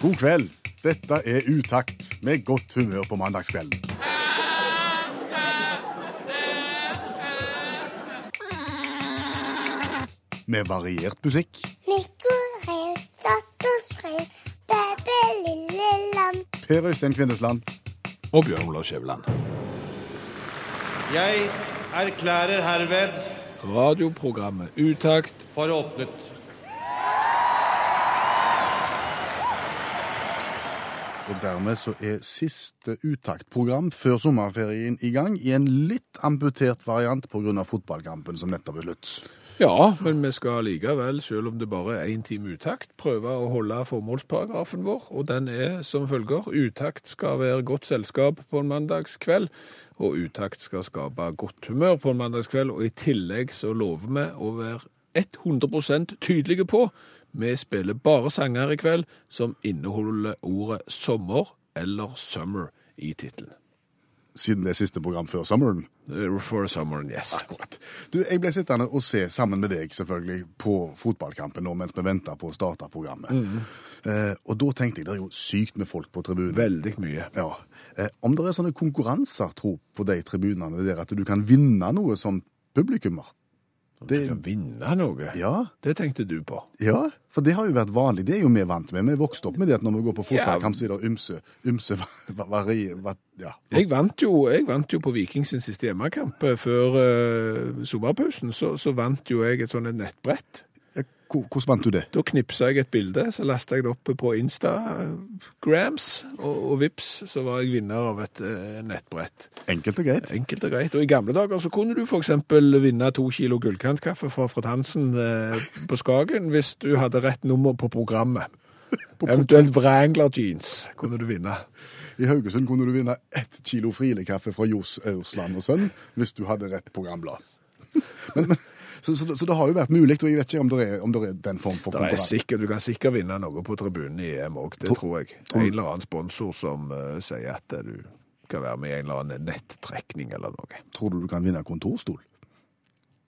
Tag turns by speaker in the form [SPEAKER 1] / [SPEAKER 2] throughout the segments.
[SPEAKER 1] God kveld. Dette er Utakt, med godt humør på mandagskvelden. Med variert musikk.
[SPEAKER 2] Nikolai, satt og skrev, baby, lille lam.
[SPEAKER 1] Per Øystein Kvindesland.
[SPEAKER 3] Og Bjørn Olav Skjæveland.
[SPEAKER 4] Jeg erklærer herved
[SPEAKER 3] Radioprogrammet Utakt
[SPEAKER 4] for åpnet.
[SPEAKER 1] Og dermed så er siste Utakt-program før sommerferien i gang, i en litt amputert variant pga. fotballkampen som nettopp er slutt.
[SPEAKER 3] Ja, men vi skal likevel, selv om det bare er én time utakt, prøve å holde formålsparagrafen vår, og den er som følger. Utakt skal være godt selskap på en mandagskveld, og utakt skal skape godt humør på en mandagskveld, og i tillegg så lover vi å være 100 tydelige på vi spiller bare sanger i kveld som inneholder ordet sommer eller summer i tittelen.
[SPEAKER 1] Siden det er siste program før sommeren.
[SPEAKER 3] Eh, For sommeren, yes.
[SPEAKER 1] Akkurat. Du, jeg ble sittende og se, sammen med deg selvfølgelig, på fotballkampen nå mens vi venta på å starte programmet. Eh, og da tenkte jeg det er jo sykt med folk på tribunen.
[SPEAKER 3] Veldig mye.
[SPEAKER 1] Ja. Eh, om det er sånne konkurranser, tro, på de tribunene der, at du kan vinne noe som publikummer?
[SPEAKER 3] Du
[SPEAKER 1] Det,
[SPEAKER 3] skal vinne noe.
[SPEAKER 1] ja,
[SPEAKER 3] Det tenkte du på.
[SPEAKER 1] ja, for det har jo vært vanlig. Det er jo vi vant med. Vi vokste opp med det at når vi går på fotballkamp, så er det ymse, ymse va- vari... va- Ja.
[SPEAKER 3] Jeg vant jo, jeg vant jo på Viking sin siste hjemmekamp eh, før eh, sommerpausen. Så, så vant jo jeg et sånt et nettbrett.
[SPEAKER 1] Eh, hvor- Hvordan vant du det?
[SPEAKER 3] Da knipsa jeg et bilde, så lasta jeg det opp på Instagrams, og, og vips, så var jeg vinner av et eh, nettbrett.
[SPEAKER 1] Enkelt og greit.
[SPEAKER 3] Enkelt og greit. Og i gamle dager så kunne du f.eks. vinne to kilo gullkantkaffe fra Fred Hansen eh, på Skagen hvis du hadde rett nummer på programmet. Eventuelt Wrangler jeans kunne du vinne.
[SPEAKER 1] I Haugesund kunne du vinne ett kilo Friele-kaffe fra Johs Aursland og sønn hvis du hadde rett programblad. Men, men, så, så, så det har jo vært mulig, og jeg vet ikke om det er, om det er den form for
[SPEAKER 3] Det er
[SPEAKER 1] konkurranse.
[SPEAKER 3] sikkert, Du kan sikkert vinne noe på tribunen i EM òg, det tror jeg. En eller annen sponsor som eh, sier at eh, du kan være med i en eller annen nettrekning eller noe.
[SPEAKER 1] Tror du du kan vinne kontorstol?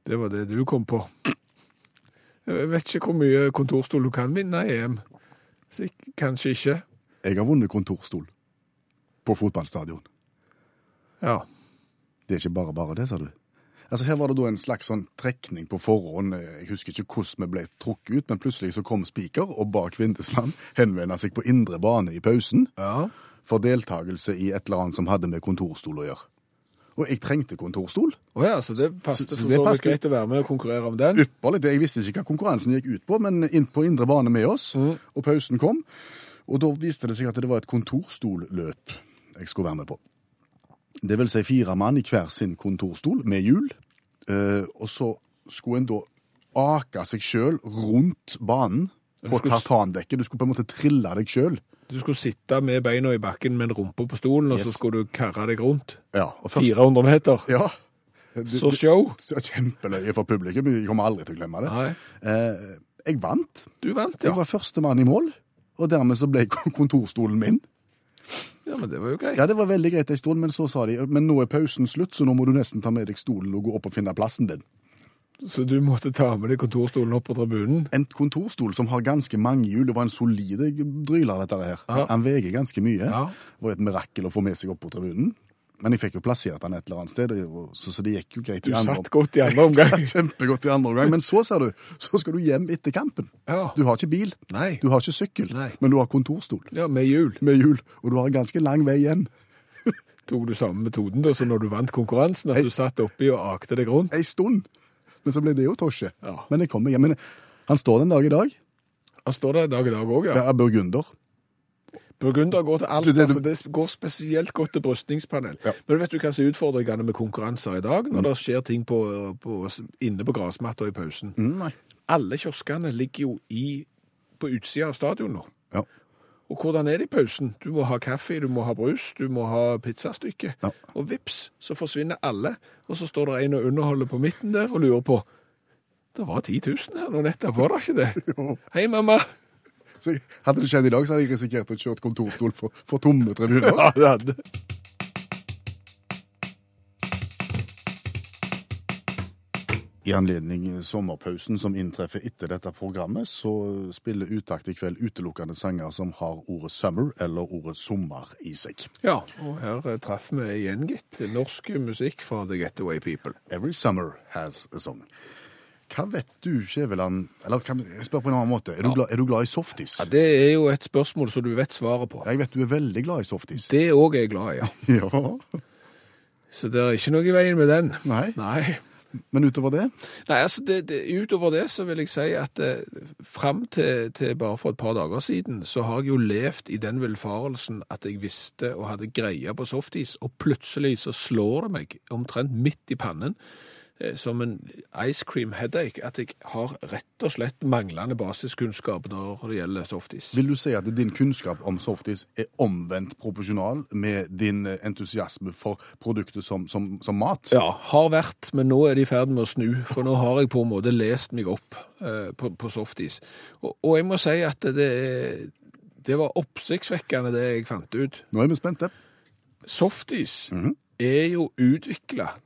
[SPEAKER 3] Det var det du kom på. Jeg vet ikke hvor mye kontorstol du kan vinne i EM. Sikk- Kanskje ikke.
[SPEAKER 1] Jeg har vunnet kontorstol på fotballstadion.
[SPEAKER 3] Ja.
[SPEAKER 1] Det er ikke bare bare det, sa du. Altså Her var det da en slags sånn trekning på forhånd. Jeg husker ikke hvordan vi ble trukket ut, men plutselig så kom Spiker og ba Kvindesland henvende seg på indre bane i pausen
[SPEAKER 3] ja.
[SPEAKER 1] for deltakelse i et eller annet som hadde med kontorstol å gjøre. Og jeg trengte kontorstol.
[SPEAKER 3] Å ja, så det passet
[SPEAKER 1] Så- så
[SPEAKER 3] for
[SPEAKER 1] det
[SPEAKER 3] så vidt
[SPEAKER 1] passet.
[SPEAKER 3] greit å være med og konkurrere om den.
[SPEAKER 1] ypperlig. Det- Jeg visste ikke hva konkurransen gikk ut på, men inn på indre bane med oss,
[SPEAKER 3] Mm.
[SPEAKER 1] og pausen kom. Og da viste det seg at det var et kontorstolløp jeg skulle være med på. Det vil si fire mann i hver sin kontorstol med hjul, eh, og så skulle en da ake seg sjøl rundt banen på
[SPEAKER 3] skulle s-
[SPEAKER 1] tartandekket. Du skulle på en måte trille deg sjøl.
[SPEAKER 3] Du skulle sitte med beina i bakken med en rumpe på stolen, og så skulle du karre deg rundt.
[SPEAKER 1] Ja, og først,
[SPEAKER 3] 400 meter.
[SPEAKER 1] ja. Du-
[SPEAKER 3] Så show.
[SPEAKER 1] det var Kjempeløye for publikum. Jeg kommer aldri til å glemme det.
[SPEAKER 3] Nei,
[SPEAKER 1] Eh, jeg vant.
[SPEAKER 3] du vant,
[SPEAKER 1] Jeg
[SPEAKER 3] ja.
[SPEAKER 1] var førstemann i mål, og dermed så ble kontorstolen min.
[SPEAKER 3] Ja, men det var jo greit.
[SPEAKER 1] Ja, det var veldig greit en stund, men så sa de men nå er pausen slutt, så nå må du nesten ta med deg stolen og gå opp og finne plassen din.
[SPEAKER 3] Så du måtte ta med deg kontorstolen opp på tribunen?
[SPEAKER 1] En kontorstol som har ganske mange hjul, det var en solid dryler, dette her.
[SPEAKER 3] Ja.
[SPEAKER 1] Han veier ganske mye.
[SPEAKER 3] Ja.
[SPEAKER 1] Det var et mirakel å få med seg opp på tribunen. Men jeg fikk jo plassert han et eller annet sted, og- så, så det gikk jo greit
[SPEAKER 3] Du
[SPEAKER 1] i andre
[SPEAKER 3] satt godt i andre omgang.
[SPEAKER 1] Satt Kjempegodt i andre omgang. Men så, ser du, så skal du hjem etter kampen.
[SPEAKER 3] Ja.
[SPEAKER 1] Du har ikke bil,
[SPEAKER 3] Nei.
[SPEAKER 1] du har ikke sykkel,
[SPEAKER 3] Nei.
[SPEAKER 1] men du har kontorstol
[SPEAKER 3] Ja, med hjul.
[SPEAKER 1] med hjul, og du har en ganske lang vei hjem.
[SPEAKER 3] Tok du samme metoden da, så når du vant konkurransen, at du satt oppi og akte deg rundt?
[SPEAKER 1] ei stund. Men så ble det jo tosje.
[SPEAKER 3] Ja.
[SPEAKER 1] Men jeg kom meg hjem. Men han står den dag i dag.
[SPEAKER 3] Han står der i dag i dag òg,
[SPEAKER 1] Det
[SPEAKER 3] ja.
[SPEAKER 1] er burgunder.
[SPEAKER 3] Burgunder går til alt,
[SPEAKER 1] Det- det-
[SPEAKER 3] altså det går spesielt godt til brystningspanel.
[SPEAKER 1] Ja. Mm.
[SPEAKER 3] Men vet du hva som er utfordringene med konkurranser i dag, når det skjer ting på, på, inne på grasmatta i pausen?
[SPEAKER 1] nei.
[SPEAKER 3] Alle kioskene ligger jo i, på utsida av stadion nå.
[SPEAKER 1] Ja.
[SPEAKER 3] Og hvordan er det i pausen? Du må ha kaffe, du må ha brus, du må ha pizzastykke.
[SPEAKER 1] Ja.
[SPEAKER 3] Og vips, så forsvinner alle. Og så står det en og underholder på midten der og lurer på Det var 10 000 her nå nettopp, var det ikke det? Hei, mamma.
[SPEAKER 1] Så hadde det skjedd i dag, så hadde jeg risikert å kjøre kontorstol for, for tomme tribuner. I anledning sommerpausen som inntreffer etter dette programmet, så spiller Utakt i kveld utelukkende sanger som har ordet summer eller ordet sommer i seg.
[SPEAKER 3] Ja, og her eh, traff vi igjen, gitt. Norsk musikk fra The Getaway People.
[SPEAKER 1] Every summer has a song. Hva vet du, Skjæveland Eller kan jeg spør på en annen måte. Er du, glad, er du glad i softis?
[SPEAKER 3] Ja, Det er jo et spørsmål som du vet svaret på.
[SPEAKER 1] Jeg vet du er veldig glad i softis.
[SPEAKER 3] Det òg er jeg glad i, ja.
[SPEAKER 1] Ja,
[SPEAKER 3] Så det er ikke noe i veien med den.
[SPEAKER 1] Nei.
[SPEAKER 3] Nei.
[SPEAKER 1] Men utover det
[SPEAKER 3] Nei, altså det, det, Utover det så vil jeg si at eh, fram til, til bare for et par dager siden, så har jeg jo levd i den velfarelsen at jeg visste og hadde greia på softis, og plutselig så slår det meg omtrent midt i pannen eh, som en ice cream headache at jeg har rett og slett manglende basiskunnskap når det gjelder softis.
[SPEAKER 1] vil du si at din kunnskap om softis er omvendt proporsjonal med din eh, entusiasme for produktet som, som, som mat?
[SPEAKER 3] Ja, har vært, men nå er de i ferd med å snu, for nå har jeg på en måte lest meg opp eh, på, på softis. Og, og jeg må si at det, det var oppsiktsvekkende det jeg fant ut.
[SPEAKER 1] Nå er vi spente.
[SPEAKER 3] Softis er jo utvikla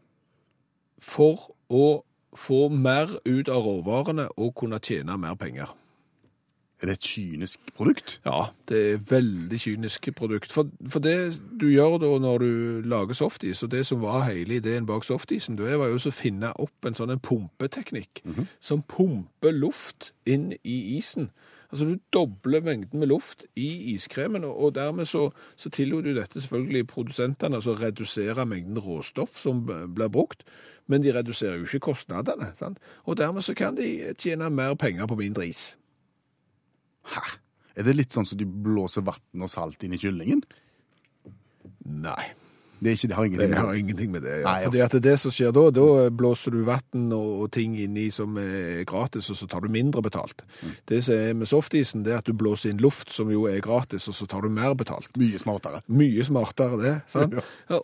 [SPEAKER 3] for å få mer ut av råvarene og kunne tjene mer penger.
[SPEAKER 1] Er det et kynisk produkt?
[SPEAKER 3] Ja, det er veldig kynisk produkt. For, for det du gjør da når du lager softis, og det som var hele ideen bak softisen, det var jo å finne opp en sånn en pumpeteknikk som pumper luft inn i isen. Altså du dobler mengden med luft i iskremen, og, og dermed så, så tillot du dette selvfølgelig produsentene, altså redusere mengden råstoff som b- blir brukt, men de reduserer jo ikke kostnadene, sant? Og dermed så kan de tjene mer penger på mindre is.
[SPEAKER 1] Er det litt sånn som de blåser vann og salt inn i kyllingen?
[SPEAKER 3] Nei.
[SPEAKER 1] Det, er ikke, det har ingenting
[SPEAKER 3] Det
[SPEAKER 1] med
[SPEAKER 3] har ingenting med det. Ja.
[SPEAKER 1] Nei, ja.
[SPEAKER 3] Fordi at det som skjer da, da blåser du vann og, og ting inni som er gratis, og så tar du mindre betalt.
[SPEAKER 1] Mm.
[SPEAKER 3] Det som er med softisen, det er at du blåser inn luft som jo er gratis, og så tar du mer betalt.
[SPEAKER 1] Mye smartere.
[SPEAKER 3] Mye smartere det, sant? Ja.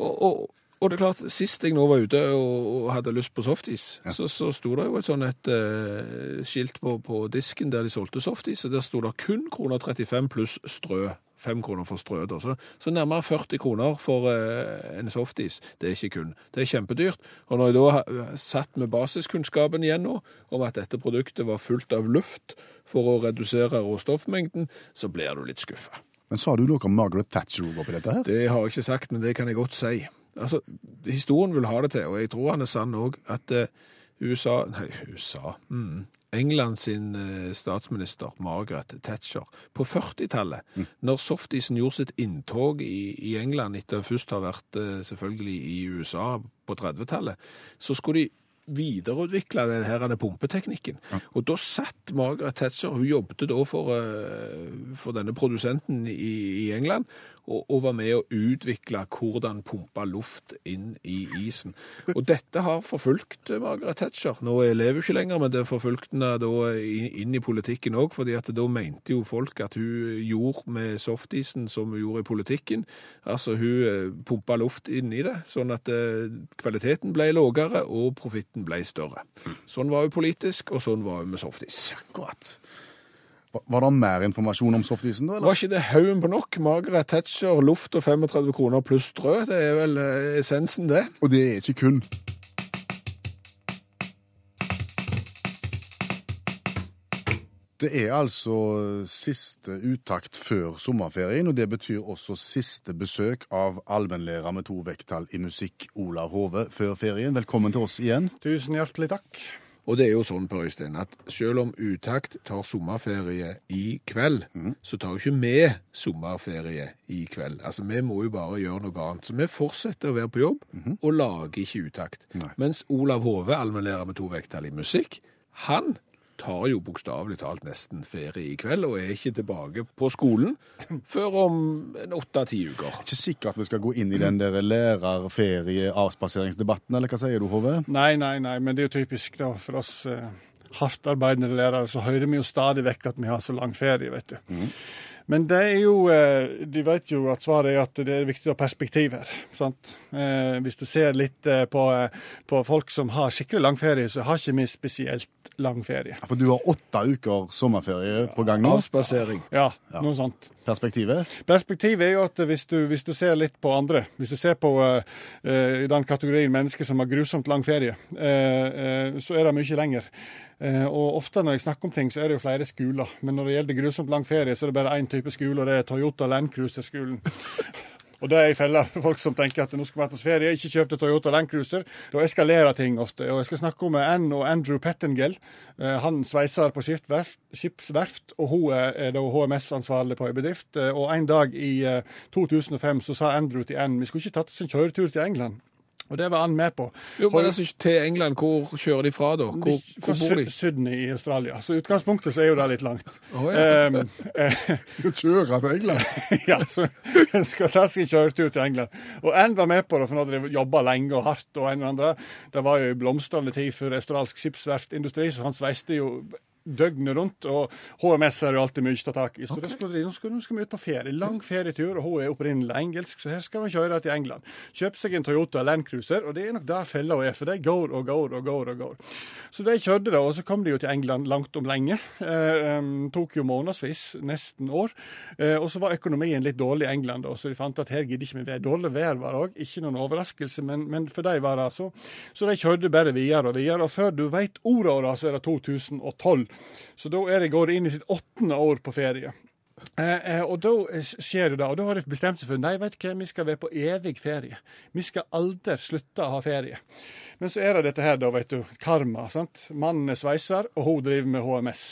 [SPEAKER 3] Og, og, og det er klart, sist jeg nå var ute og, og hadde lyst på softis, så, så sto det jo et sånn et eh, skilt på, på disken der de solgte softis, og der sto det kun kroner 35 pluss strø. 5 kroner for strø, da. Så, så nærmere 40 kroner for eh, en softis. Det er ikke kun. Det er kjempedyrt. Og når jeg da ha- satt med basiskunnskapen igjen nå, om at dette produktet var fullt av luft for å redusere råstoffmengden, så blir du litt skuffa.
[SPEAKER 1] Men sa du noe om Margaret Thatcher oppi dette her?
[SPEAKER 3] Det har jeg ikke sagt, men det kan jeg godt si. Altså, Historien vil ha det til, og jeg tror han er sann òg, at eh, USA Nei, USA. Mm. England sin eh, statsminister Margaret Thatcher på 40-tallet, når softisen gjorde sitt inntog i, i England etter å først ha vært eh, selvfølgelig i USA på 30-tallet, så skulle de videreutvikle den her denne pumpeteknikken. Og da satt Margaret Thatcher, hun jobbet da for, eh, for denne produsenten i, i England, og, og var med å utvikle hvordan pumpa luft inn i isen. Og dette har forfulgt eh, Margaret Thatcher. Nå lever hun ikke lenger, men det forfulgte henne da i- inn i politikken òg, fordi at da mente jo folk at hun gjorde med softisen som hun gjorde i politikken. Altså hun eh, pumpa luft inn i det, sånn at eh, kvaliteten ble lavere og profitten ble større. Sånn var hun politisk, og sånn var hun med softis.
[SPEAKER 1] Akkurat. Var- Var det mer informasjon om softisen, da? eller?
[SPEAKER 3] Var ikke det haugen på nok? Margaret Thatcher, luft og 35 kroner pluss strø. Det er vel eh, essensen, det.
[SPEAKER 1] Og det er ikke kun. Det er altså siste uttakt før sommerferien, og det betyr også siste besøk av allmennlærer med to vekttall i musikk, Ola Hove, før ferien. Velkommen til oss igjen.
[SPEAKER 5] Tusen hjertelig takk.
[SPEAKER 3] Og det er jo sånn, Per Øystein, at selv om Utakt tar sommerferie i kveld, så tar jo ikke vi sommerferie i kveld. Altså, vi må jo bare gjøre noe annet. Så vi fortsetter å være på jobb, og lager ikke Utakt. Mens Olav Hove, allmennlærer med to vekttall i musikk, han tar jo bokstavelig talt nesten ferie i kveld, og er ikke tilbake på skolen før om en åtte-ti uker.
[SPEAKER 1] Ikke sikkert vi skal gå inn i den der lærerferie-avspaseringsdebatten, eller hva sier du, Hove?
[SPEAKER 5] Nei, nei, nei, men det er jo typisk da, for oss eh, hardtarbeidende lærere, så hører vi jo stadig vekk at vi har så lang ferie, vet du. Men det er jo, eh, de vet jo at svaret er at det er viktig å ha perspektiver. sant? Eh, Hvis du ser litt eh, på, eh, på folk som har skikkelig lang ferie, så har ikke vi spesielt lang ferie.
[SPEAKER 1] For du har åtte uker sommerferie på gang nå.
[SPEAKER 3] Avspasering.
[SPEAKER 5] Ja, noe sånt.
[SPEAKER 1] Perspektivet.
[SPEAKER 5] Perspektivet er jo at hvis du, hvis du ser litt på andre, hvis du ser på eh, eh, den kategorien mennesker som har grusomt lang ferie, eh, eh, så er det mye lenger. Eh, og ofte når jeg snakker om ting, så er det jo flere skoler. Men når det gjelder grusomt lang ferie, så er det bare én type skole, og det er Toyota Land Cruiser-skolen. Og det er i fella for folk som tenker at nå skal vi ha ferie, ikke kjøpte Toyota Land Cruiser. Da eskalerer ting ofte. Og jeg skal snakke om Ann og Andrew Pettingell. Eh, Han sveiser på skipsverft, skipsverft og hun er er da HMS-ansvarlig på en bedrift. Eh, Og en dag i eh, 2005 så sa Andrew til Ann vi skulle ikke tatt oss en kjøretur til England. Og det var Ann med på.
[SPEAKER 3] Jo,
[SPEAKER 5] Hold-
[SPEAKER 3] men altså, til England, hvor kjører de fra da? Hvor,
[SPEAKER 5] de- fra
[SPEAKER 3] hvor bor de?
[SPEAKER 5] Sy- Sydney i Australia. Så i utgangspunktet så er jo det litt langt.
[SPEAKER 3] Å, ja.
[SPEAKER 5] Em, eh,
[SPEAKER 1] Kjøre til England.
[SPEAKER 5] ja, så en skal ta seg en kjøretur til England. Og en var med på det, for nå hadde de jobba lenge og hardt. og en og andre. Det var jo en blomstrende tid for australsk skipsverftindustri, så han sveiste jo døgnet rundt. Og HMS er jo alltid mye å ta tak i. Så da skulle de, nå, skulle, nå skal vi ut på ferie. Lang ferietur, og hun er opprinnelig engelsk, så her skal vi kjøre til England. Kjøpe seg en Toyota Land Cruiser, og det er nok der fella er, for de går og går og går og går. Så de kjørte det, og så kom de jo til England langt om lenge. Eh, em, tok jo månedsvis, nesten år. Eh, og så var økonomien litt dårlig i England, da, så de fant at her gidder ikke vi være. Dårlig vær var det òg, ikke noen overraskelse, men, men for de var det altså. Så de kjørte bare videre og videre, og før du veit ordet av det, så er det 2012. Så da er det, går det inn i sitt åttende år på ferie. Eh, eh, og da eh, skjer jo det, og da har de bestemt seg for nei, vet du hva, vi skal være på evig ferie. Vi skal aldri slutte å ha ferie. Men så er det dette her, da, vet du. Karma. sant? Mannen er sveiser, og hun driver med HMS.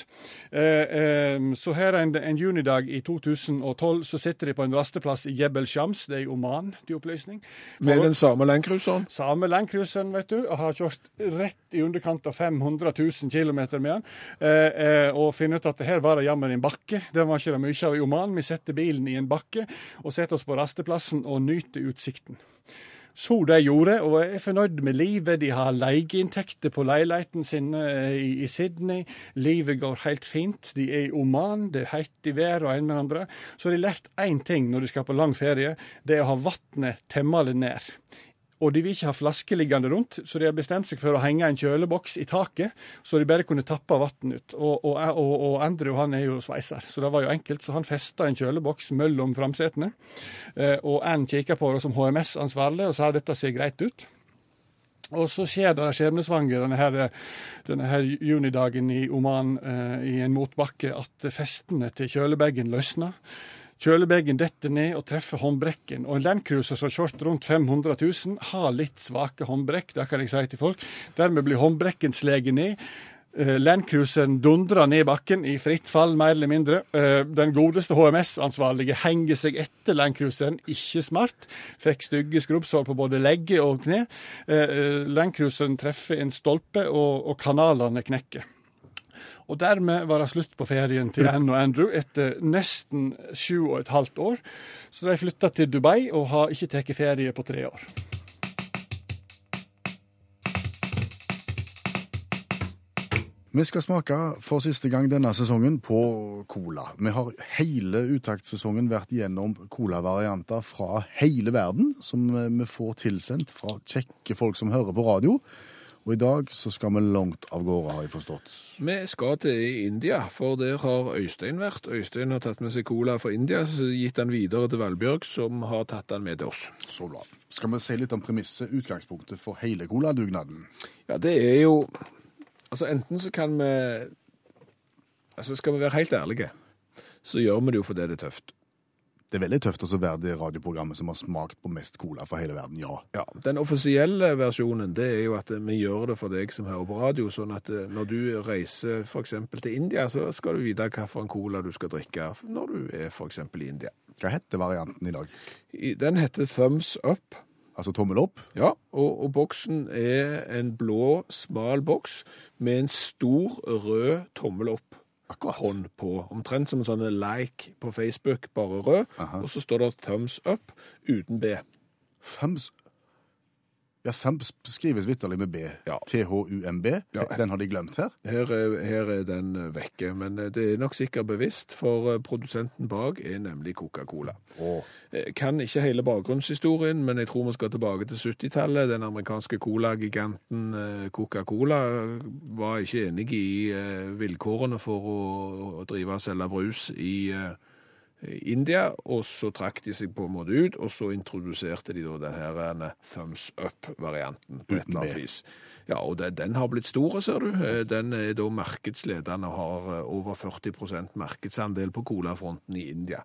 [SPEAKER 5] Eh, eh, så her en, en junidag i 2012 så sitter de på en rasteplass i Jebel Shams, det er i Oman til opplysning.
[SPEAKER 3] Med den samme landcruiseren?
[SPEAKER 5] Samme landcruiseren, vet du, og har kjørt rett i underkant av 500 000 km med den. Eh, eh, og finner ut at her var det jammen en bakke. Det var ikke det mye av i Oman. Vi setter bilen i en bakke og setter oss på rasteplassen og nyter utsikten. Så de gjorde, og er fornøyd med livet. De har leieinntekter på leiligheten sin eh, i, i Sydney. Livet går helt fint. De er i Oman, det er heit i været og en med andre. Så har de lært én ting når de skal på lang ferie, det er å ha vannet temmelig nær. Og de vil ikke ha flasker liggende rundt, så de har bestemt seg for å henge en kjøleboks i taket, så de bare kunne tappe vann ut. Og, og, og, og Andrew han er jo sveiser, så det var jo enkelt. Så han festa en kjøleboks mellom framsetene. Eh, Og Ann kikka på det som HMS-ansvarlig og sa dette ser greit ut. Og så skjer det skjebnesvanger denne, her- denne her junidagen i Oman eh, i en motbakke at festene til kjølebagen løsner. Kjølebagen detter ned og treffer håndbrekken. Og en landcruiser som har kjørt rundt 500 000, har litt svake håndbrekk, det kan jeg si til folk. Dermed blir håndbrekken sleget ned. Eh, Landcruiseren dundrer ned bakken i fritt fall, mer eller mindre. Eh, Den godeste HMS-ansvarlige henger seg etter landcruiseren, ikke smart. Fikk stygge skrubbsår på både legge og kne. Eh, eh, Landcruiseren treffer en stolpe, og, og kanalene knekker. Og dermed var det slutt på ferien til Ann og Andrew etter nesten sju og et halvt år. Så de flytta til Dubai og har ikke tatt ferie på tre år.
[SPEAKER 1] Vi skal smake for siste gang denne sesongen på cola. Vi har hele uttaktsesongen vært gjennom colavarianter fra hele verden, som vi får tilsendt fra kjekke folk som hører på radio. Og i dag så skal vi langt av gårde, har jeg forstått.
[SPEAKER 3] Vi skal til India, for der har Øystein vært. Øystein har tatt med seg cola fra India, så gitt den videre til Valbjørg, som har tatt den med til oss.
[SPEAKER 1] Så bra. Skal vi si litt om premisset, utgangspunktet for hele coladugnaden?
[SPEAKER 3] Ja, det er jo Altså, enten så kan vi Altså, skal vi være helt ærlige, så gjør vi det jo fordi det er tøft.
[SPEAKER 1] Det er veldig tøft å være det radioprogrammet som har smakt på mest cola fra hele verden, ja.
[SPEAKER 3] Ja, Den offisielle versjonen det er jo at vi gjør det for deg som hører på radio, sånn at eh, når du reiser f.eks. til India, så skal du vite hvilken cola du skal drikke når du er f.eks. i India.
[SPEAKER 1] Hva heter varianten i dag?
[SPEAKER 3] I- Den heter Thumbs Up.
[SPEAKER 1] Altså tommel opp?
[SPEAKER 3] Ja, og, og boksen er en blå, smal boks med en stor, rød tommel opp. Hånd på. Omtrent som en sånn like på Facebook, bare rød. Og så står det thumbs up uten B.
[SPEAKER 1] Thumbs Ja, fem sp- skrives vitterlig med B.
[SPEAKER 3] Ja.
[SPEAKER 1] T-H-U-M-B.
[SPEAKER 3] Ja.
[SPEAKER 1] Den har de glemt her.
[SPEAKER 3] Her er, her er den eh, vekke, men eh, det er nok sikkert bevisst, for eh, produsenten bak er nemlig Coca-Cola. Eh, Kan ikke hele bakgrunnshistorien, men jeg tror vi skal tilbake til 70-tallet. Den amerikanske cola-giganten eh, Coca-Cola eh, var ikke enig i eh, vilkårene for å, å drive og selge brus i eh, India, og så trakk de seg på en måte ut, og så introduserte de da den her eh, thumbs up-varianten på et
[SPEAKER 1] Uten
[SPEAKER 3] eller annet
[SPEAKER 1] B.
[SPEAKER 3] vis. Ja, og det, den har blitt stor, ser du. Eh, Den er da markedsledende og har eh, over 40 markedsandel på colafronten i India.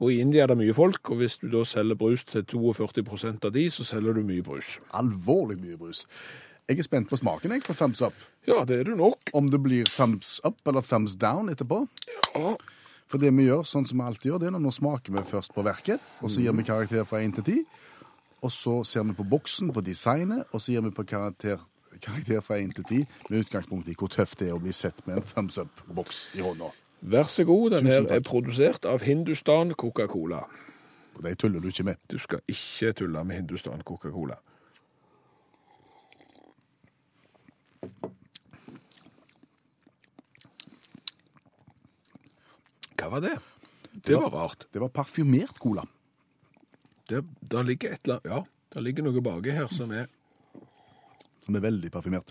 [SPEAKER 3] Og i India er det mye folk, og hvis du da selger brus til 42 av de, så selger du mye brus.
[SPEAKER 1] Alvorlig mye brus. Jeg er spent på smaken jeg, på thumbs up.
[SPEAKER 3] Ja, det er du nok.
[SPEAKER 1] Om det blir thumbs up eller thumbs down etterpå.
[SPEAKER 3] Ja.
[SPEAKER 1] For det vi gjør, sånn som vi alltid gjør, det er når nå smaker vi først på verket, og så gir vi karakter fra 1 til 10. Og så ser vi på boksen, på designet, og så gir vi på karakter, karakter fra 1 til 10 med utgangspunkt i hvor tøft det er å bli sett med en thumbs up-boks i hånda.
[SPEAKER 3] Vær så god, den her
[SPEAKER 1] Tusen
[SPEAKER 3] er
[SPEAKER 1] takk.
[SPEAKER 3] produsert av Hindustan Coca-Cola.
[SPEAKER 1] Og det tuller du ikke med.
[SPEAKER 3] Du skal ikke tulle med Hindustan Coca-Cola. Hva var det? Det var rart.
[SPEAKER 1] Det var parfymert cola.
[SPEAKER 3] Det, der ligger et eller annet Ja, der ligger noe baki her som er
[SPEAKER 1] som er veldig parfymert.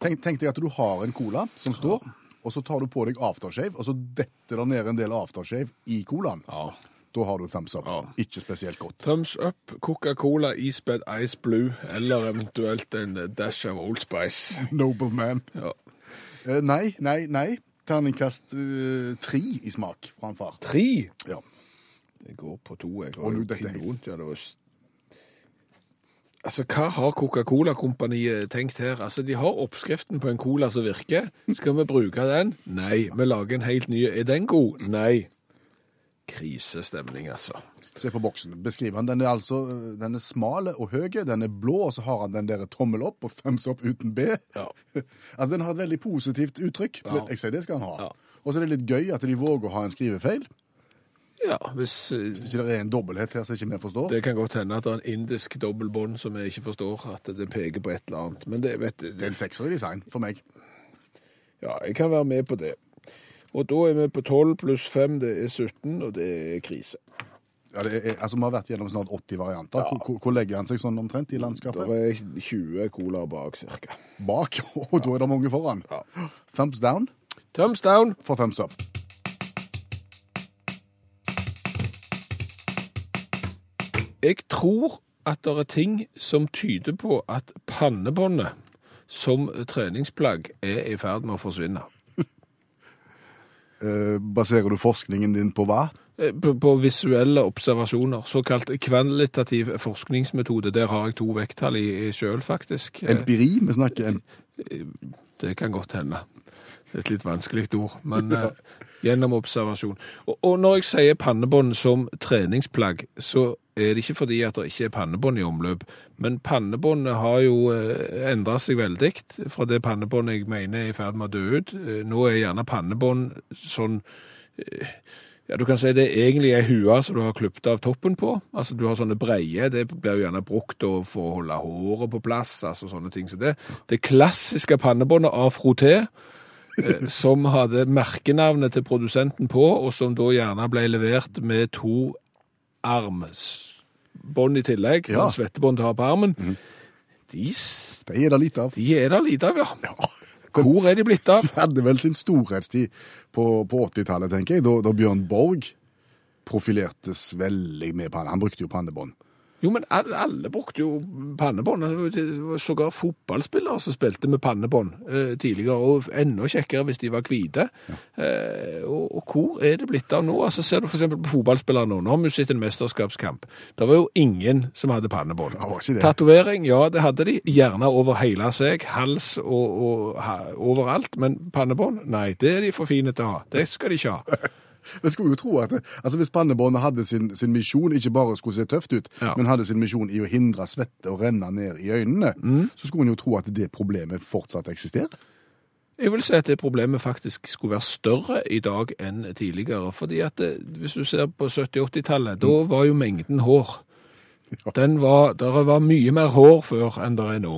[SPEAKER 1] Tenk, tenk deg at du har en cola som står, og så tar du på deg aftershave, og så detter det ned en del aftershave i colaen.
[SPEAKER 3] Ja.
[SPEAKER 1] Da har du thumbs up.
[SPEAKER 3] Ja.
[SPEAKER 1] Ikke spesielt godt.
[SPEAKER 3] Thumbs up, Coca-Cola, Isbed, Ice Blue eller eventuelt en dash av Old Spice.
[SPEAKER 1] Nobleman.
[SPEAKER 3] Ja.
[SPEAKER 1] Eh, nei, nei, nei. Terningkast eh, tre i smak fra en far.
[SPEAKER 3] Tre!
[SPEAKER 1] Ja.
[SPEAKER 3] Jeg går på to. Jeg har
[SPEAKER 1] Og nå
[SPEAKER 3] jo
[SPEAKER 1] dette er
[SPEAKER 3] pinne
[SPEAKER 1] helt-
[SPEAKER 3] vondt. Ja, det var... s- Altså, Hva har Coca-Cola-kompaniet tenkt her? Altså, De har oppskriften på en cola som virker. Skal vi bruke den? Nei. Vi lager en helt ny. Er den god? Nei. Krisestemning, altså.
[SPEAKER 1] Se på boksen. Beskriv han. Den er altså eh, den er smal og høy, den er blå, og så har han den der tommel opp og thumbs up uten B.
[SPEAKER 3] Ja.
[SPEAKER 1] Altså, Den har et veldig positivt uttrykk.
[SPEAKER 3] Ja.
[SPEAKER 1] men Jeg sier det skal han ha.
[SPEAKER 3] Ja.
[SPEAKER 1] Og så er det litt gøy at de våger å ha en skrivefeil.
[SPEAKER 3] ja hvis... eh,
[SPEAKER 1] Ikke det er en dobbelthet her som ikke vi forstår.
[SPEAKER 3] Det kan godt hende at det er en indisk dobbeltbånd som jeg ikke forstår, at det peker på et eller annet. Men det, vet,
[SPEAKER 1] Det er en sekser i design for meg.
[SPEAKER 3] Ja, jeg kan være med på det. Og da er vi på 12 pluss 5, det er 17, og det er krise.
[SPEAKER 1] Ja, det er, altså, Vi har vært gjennom snart 80 varianter. Hvor- Hvor, hvor legger han seg sånn omtrent i
[SPEAKER 3] Det
[SPEAKER 1] landskapet?
[SPEAKER 3] er 20 colaer bak, cirka.
[SPEAKER 1] Bak, og da er det mange foran.
[SPEAKER 3] Ja.
[SPEAKER 1] Thumbs down
[SPEAKER 3] Thumbs down!
[SPEAKER 1] for thumbs up.
[SPEAKER 3] Jeg tror at det er ting som tyder på at pannebåndet som treningsplagg er i ferd med å forsvinne.
[SPEAKER 1] Eh, baserer du forskningen din på hva?
[SPEAKER 3] Eh, På, på visuelle observasjoner, såkalt kvalitativ forskningsmetode. Der har jeg to vekttall i sjøl, faktisk. Eh,
[SPEAKER 1] Empiri? Vi snakker em
[SPEAKER 3] Det kan godt hende. Det er et litt vanskelig ord, men eh, gjennom observasjon. Og, og når jeg sier pannebånd som treningsplagg, så er det ikke fordi at det ikke er pannebånd i omløp, men pannebåndet har jo eh, endret seg veldig fra det pannebåndet jeg mener er i ferd med å dø ut. Eh, Nå er gjerne pannebånd sånn eh, ja, Du kan si det er egentlig er hua som du har klippet av toppen på. Altså, Du har sånne breie, det blir jo gjerne brukt da for å holde håret på plass. altså sånne ting som Det Det klassiske pannebåndet av Froté, eh, som hadde merkenavnet til produsenten på, og som da gjerne ble levert med to armsbånd i tillegg.
[SPEAKER 1] Ja.
[SPEAKER 3] sånn Svettebånd du har på armen. De, s-
[SPEAKER 1] Det er det lite av.
[SPEAKER 3] de er der lite av, ja. Hvor er de blitt av?
[SPEAKER 1] Hadde vel sin storhetstid på, på 80-tallet, tenker jeg, da, da Bjørn Borg profilertes veldig med panne. Han brukte jo pannebånd.
[SPEAKER 3] Jo, men alle, alle brukte jo pannebånd. Det var Sågar fotballspillere som spilte med pannebånd eh, tidligere, og enda kjekkere hvis de var hvite. Eh, og, og hvor er det blitt av nå? Altså, ser du f.eks. på fotballspillere nå. Nå har vi jo sett en mesterskapskamp. Det var jo ingen som hadde pannebånd.
[SPEAKER 1] Det var ikke det.
[SPEAKER 3] Tatovering, ja, det hadde de. Gjerne over hele seg, hals og, og ha, overalt. Men pannebånd, nei, det er de for fine til å ha. Det skal de ikke ha.
[SPEAKER 1] Jeg skulle jo tro at det, altså Hvis pannebåndet hadde sin, sin misjon, ikke bare skulle se tøft ut,
[SPEAKER 3] Ja.
[SPEAKER 1] men hadde sin misjon i å hindre
[SPEAKER 3] Mm.
[SPEAKER 1] svette å renne ned i øynene, så skulle en jo tro at det problemet fortsatt eksisterer.
[SPEAKER 3] Jeg vil si at det problemet faktisk skulle være større i dag enn tidligere. fordi at det, Hvis du ser på 70-80-tallet, da var jo mengden hår. Den var, der var mye mer hår før enn det er nå.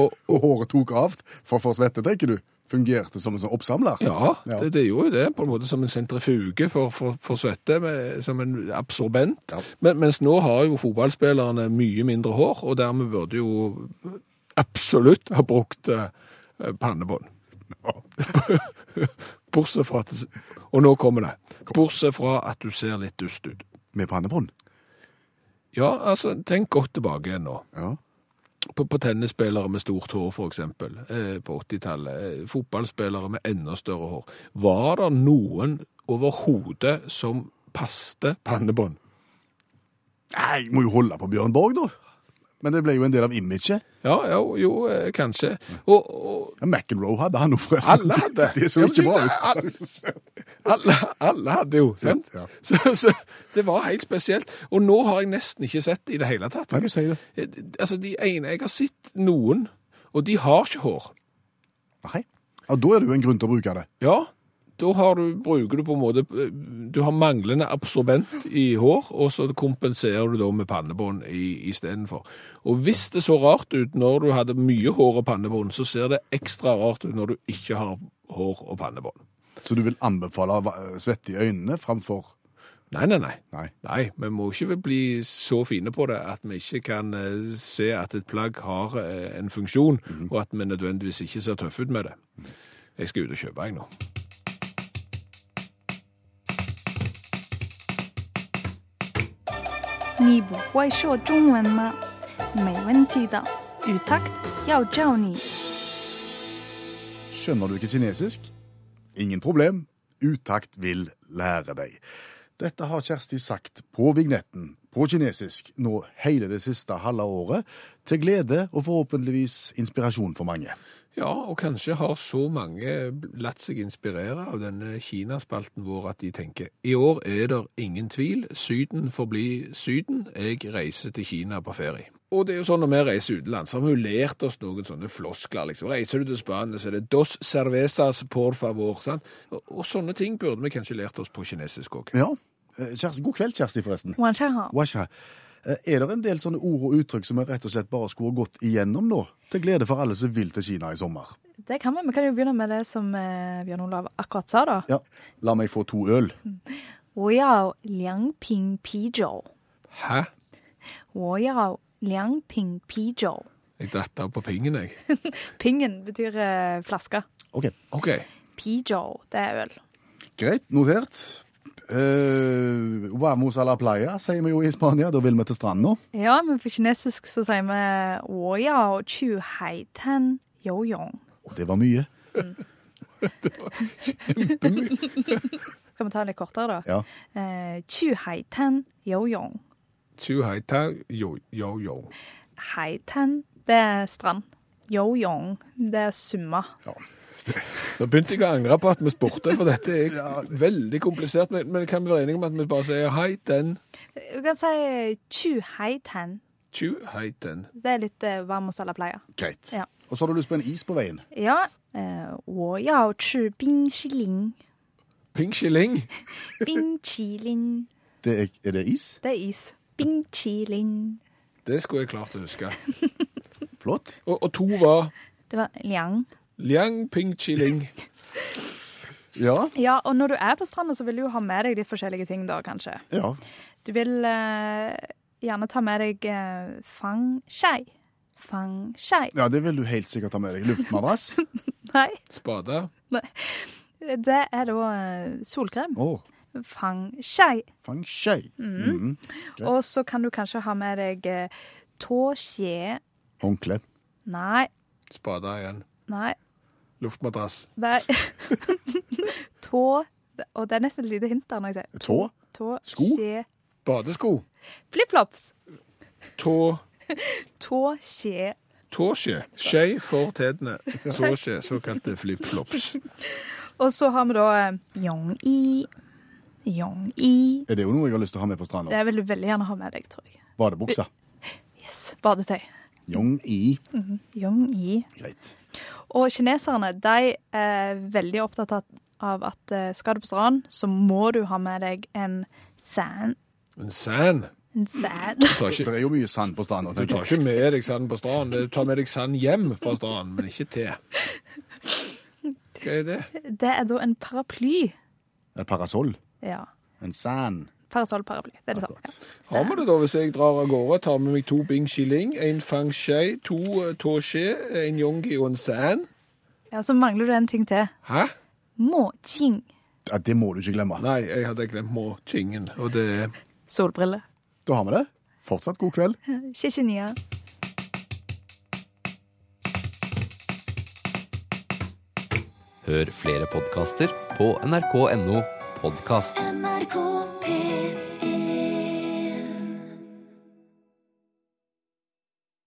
[SPEAKER 3] Og,
[SPEAKER 1] Og håret tok av for for svette, tenker du? Fungerte som en sånn oppsamler?
[SPEAKER 3] ja,
[SPEAKER 1] Ja.
[SPEAKER 3] Det, det gjorde jo det, på en måte som en sentrifuge for, for, for svette, med, som en absorbent. Men, mens nå har jo fotballspillerne mye mindre hår, og dermed burde jo absolutt ha brukt eh, pannebånd. Bortsett fra at Og nå kommer det. Bortsett fra at du ser litt dust ut.
[SPEAKER 1] Med pannebånd?
[SPEAKER 3] Ja, altså, tenk godt tilbake igjen nå.
[SPEAKER 1] Ja.
[SPEAKER 3] På, på tennisspillere med stort hår, for eksempel, eh, på 80-tallet. Eh, fotballspillere med enda større hår. Var det noen overhodet som passte pannebånd?
[SPEAKER 1] Nei, jeg må jo holde på Bjørn Borg, da. Men det ble jo en del av imaget.
[SPEAKER 3] Ja, jo, jo eh, kanskje. Og, og
[SPEAKER 1] Ja, McEnroe hadde han jo forresten.
[SPEAKER 3] alle hadde
[SPEAKER 1] Det så
[SPEAKER 3] Ja, men
[SPEAKER 1] ikke bra
[SPEAKER 3] det-
[SPEAKER 1] ut.
[SPEAKER 3] alle- Alle, alle hadde jo, sant?
[SPEAKER 1] Ja, ja.
[SPEAKER 3] Så, så det var helt spesielt. Og nå har jeg nesten ikke sett det i det hele tatt.
[SPEAKER 1] Nei, du sier det.
[SPEAKER 3] Eh, Altså, de ene, jeg har sett noen, og de har ikke hår.
[SPEAKER 1] Nei. Ja, da er det jo en grunn til å bruke det.
[SPEAKER 3] Ja, da har du, bruker du på en måte, eh, du har manglende absorbent i hår, og så kompenserer du da med pannebånd i, i stedet for. Og hvis det så rart ut når du hadde mye hår og pannebånd, så ser det ekstra rart ut når du ikke har hår og pannebånd.
[SPEAKER 1] Så du vil anbefale va- svette i øynene framfor
[SPEAKER 3] Nei, nei, nei.
[SPEAKER 1] Nei.
[SPEAKER 3] Nei, vi må ikke bli så fine på det at vi ikke kan eh, se at et plagg har eh, en funksjon, og at vi nødvendigvis ikke ser tøffe ut med det. Jeg skal ut og kjøpe, jeg nå.
[SPEAKER 1] Skjønner du ikke kinesisk? Ingen problem. Utakt vil lære deg. Dette har Kjersti sagt på vignetten på kinesisk nå hele det siste halve året, til glede og forhåpentligvis inspirasjon for mange.
[SPEAKER 3] Ja, og kanskje har så mange latt seg inspirere av denne Kinaspalten vår at de tenker i år er det ingen tvil, Syden forblir Syden, jeg reiser til Kina på ferie. Og det er jo sånn når vi reiser utenlands, så har vi jo lært oss noen sånne floskler, liksom. Reiser du til Spania, så er det dos cervezas por favor, sant? Og, og sånne ting burde vi kanskje lært oss på kinesisk òg.
[SPEAKER 1] Ja, eh, Kjersti, god kveld, Kjersti, forresten.
[SPEAKER 6] 晚上好，
[SPEAKER 1] Washa. Eh, Er det en del sånne ord og uttrykk som vi rett og slett bare skulle ha gått igjennom nå? Til glede for alle som vil til Kina i sommer.
[SPEAKER 6] det kan vi. Vi kan jo begynne med det som eh, Bjørn Olav akkurat sa, da.
[SPEAKER 1] Ja, la meg få to øl.
[SPEAKER 6] 我要两瓶啤酒，
[SPEAKER 3] Hæ?
[SPEAKER 6] 我要两瓶啤酒。
[SPEAKER 3] Jeg datt av på pingen, jeg.
[SPEAKER 6] Pingen betyr eh, flaske.
[SPEAKER 1] Ok,
[SPEAKER 3] OK.
[SPEAKER 6] Pijo, det er øl.
[SPEAKER 1] greit, notert. Eh, vamos a la playa, sier vi jo i Spania. Da vil vi til stranden nå.
[SPEAKER 6] Ja, men på kinesisk så sier vi 我要去海滩游泳。
[SPEAKER 1] Og det var mye.
[SPEAKER 6] Skal vi ta litt kortere, da?
[SPEAKER 1] Ja.
[SPEAKER 6] Eh, 去海滩游泳。
[SPEAKER 3] Chu hai ta yo yo yo.
[SPEAKER 6] 海滩det er strand. 游泳det er summe.
[SPEAKER 3] Nå begynte jeg å angre på at vi spurte, for dette er veldig komplisert. Men, men kan vi være enige om at vi bare sier hei, den,
[SPEAKER 6] Du kan si 去海滩。
[SPEAKER 3] tju, hei, den.
[SPEAKER 6] Det er litt eh, varm og sala pleie.
[SPEAKER 1] Greit.
[SPEAKER 6] Ja.
[SPEAKER 1] Og så har du lyst på en is på veien.
[SPEAKER 6] Ja. Eh, 我要吃冰淇淋，
[SPEAKER 3] Ping shilling.
[SPEAKER 6] 冰淇淋，
[SPEAKER 1] Det er, er det is?
[SPEAKER 6] det er is. 冰淇淋，
[SPEAKER 3] Det skulle jeg klart å huske.
[SPEAKER 1] Flott.
[SPEAKER 3] Og, og to var
[SPEAKER 6] det var liang.
[SPEAKER 3] liang ping shilling.
[SPEAKER 1] Ja.
[SPEAKER 6] Ja, og når du er på stranda, så vil du jo ha med deg litt forskjellige ting da, kanskje.
[SPEAKER 1] ja.
[SPEAKER 6] Du vil eh, gjerne ta med deg eh, fang skei. Fang skei.
[SPEAKER 1] Ja, det vil du helt sikkert ta med deg. Luftmadrass.
[SPEAKER 6] Nei,
[SPEAKER 3] Spade.
[SPEAKER 6] det er da eh, solkrem.
[SPEAKER 1] Å,
[SPEAKER 6] Fang skei.
[SPEAKER 1] fang skjei. Mhm. Greit.
[SPEAKER 6] Og så kan du kanskje ha med deg eh, tå skje.
[SPEAKER 1] Håndkle.
[SPEAKER 6] Nei,
[SPEAKER 3] Spade igjen.
[SPEAKER 6] nei.
[SPEAKER 3] Luftmadrass.
[SPEAKER 6] Nei. tå Og det er nesten et lite hint der når jeg sier
[SPEAKER 1] Tå.
[SPEAKER 6] tå,
[SPEAKER 1] Sko?
[SPEAKER 6] skje,
[SPEAKER 3] Badesko.
[SPEAKER 6] flipflops.
[SPEAKER 3] Tå.
[SPEAKER 6] Tå, skje.
[SPEAKER 3] Tåskje. Skje for tedene. Tåskje. Såkalte flipflops.
[SPEAKER 6] Og så har vi da eh, yong-i. Yong-i.
[SPEAKER 1] Er det jo noe jeg har lyst til å ha med på stranda?
[SPEAKER 6] Det vil du veldig gjerne ha med deg, tror jeg.
[SPEAKER 1] Badebuksa.
[SPEAKER 6] Yes. Badetøy.
[SPEAKER 1] Yong-i.
[SPEAKER 6] Yong-i.
[SPEAKER 1] Greit.
[SPEAKER 6] Og kineserne de er veldig opptatt av- av at eh, skal du på stranden, så må du ha med deg en sand.
[SPEAKER 3] En sand.
[SPEAKER 6] En sand.
[SPEAKER 3] Du tar
[SPEAKER 1] Det
[SPEAKER 3] ikke,
[SPEAKER 1] er jo mye sand på stranda.
[SPEAKER 3] du tar ikke med deg sand på stranden. Du tar med deg sand hjem fra stranden, men ikke til. Hva er det?
[SPEAKER 6] Det er da en paraply.
[SPEAKER 1] Et parasoll.
[SPEAKER 6] Ja.
[SPEAKER 1] En sand.
[SPEAKER 6] Parasollparaply. Det er det samme.
[SPEAKER 3] Har vi det da, hvis jeg drar av gårde, tar med meg to bing shilling, en fang shei, to eh, tå skje, en yongi og en sand?
[SPEAKER 6] Ja. ja, så mangler du en ting til.
[SPEAKER 3] Hæ?
[SPEAKER 6] Må-ching.
[SPEAKER 1] Ja, det må du ikke glemme.
[SPEAKER 3] Nei, jeg hadde glemt må-tingen, og det er
[SPEAKER 6] Solbriller.
[SPEAKER 1] Da har vi det. Fortsatt god kveld.
[SPEAKER 6] Ikke nye.
[SPEAKER 7] Hør flere podkaster på nrk.no podkast.
[SPEAKER 2] NRK P1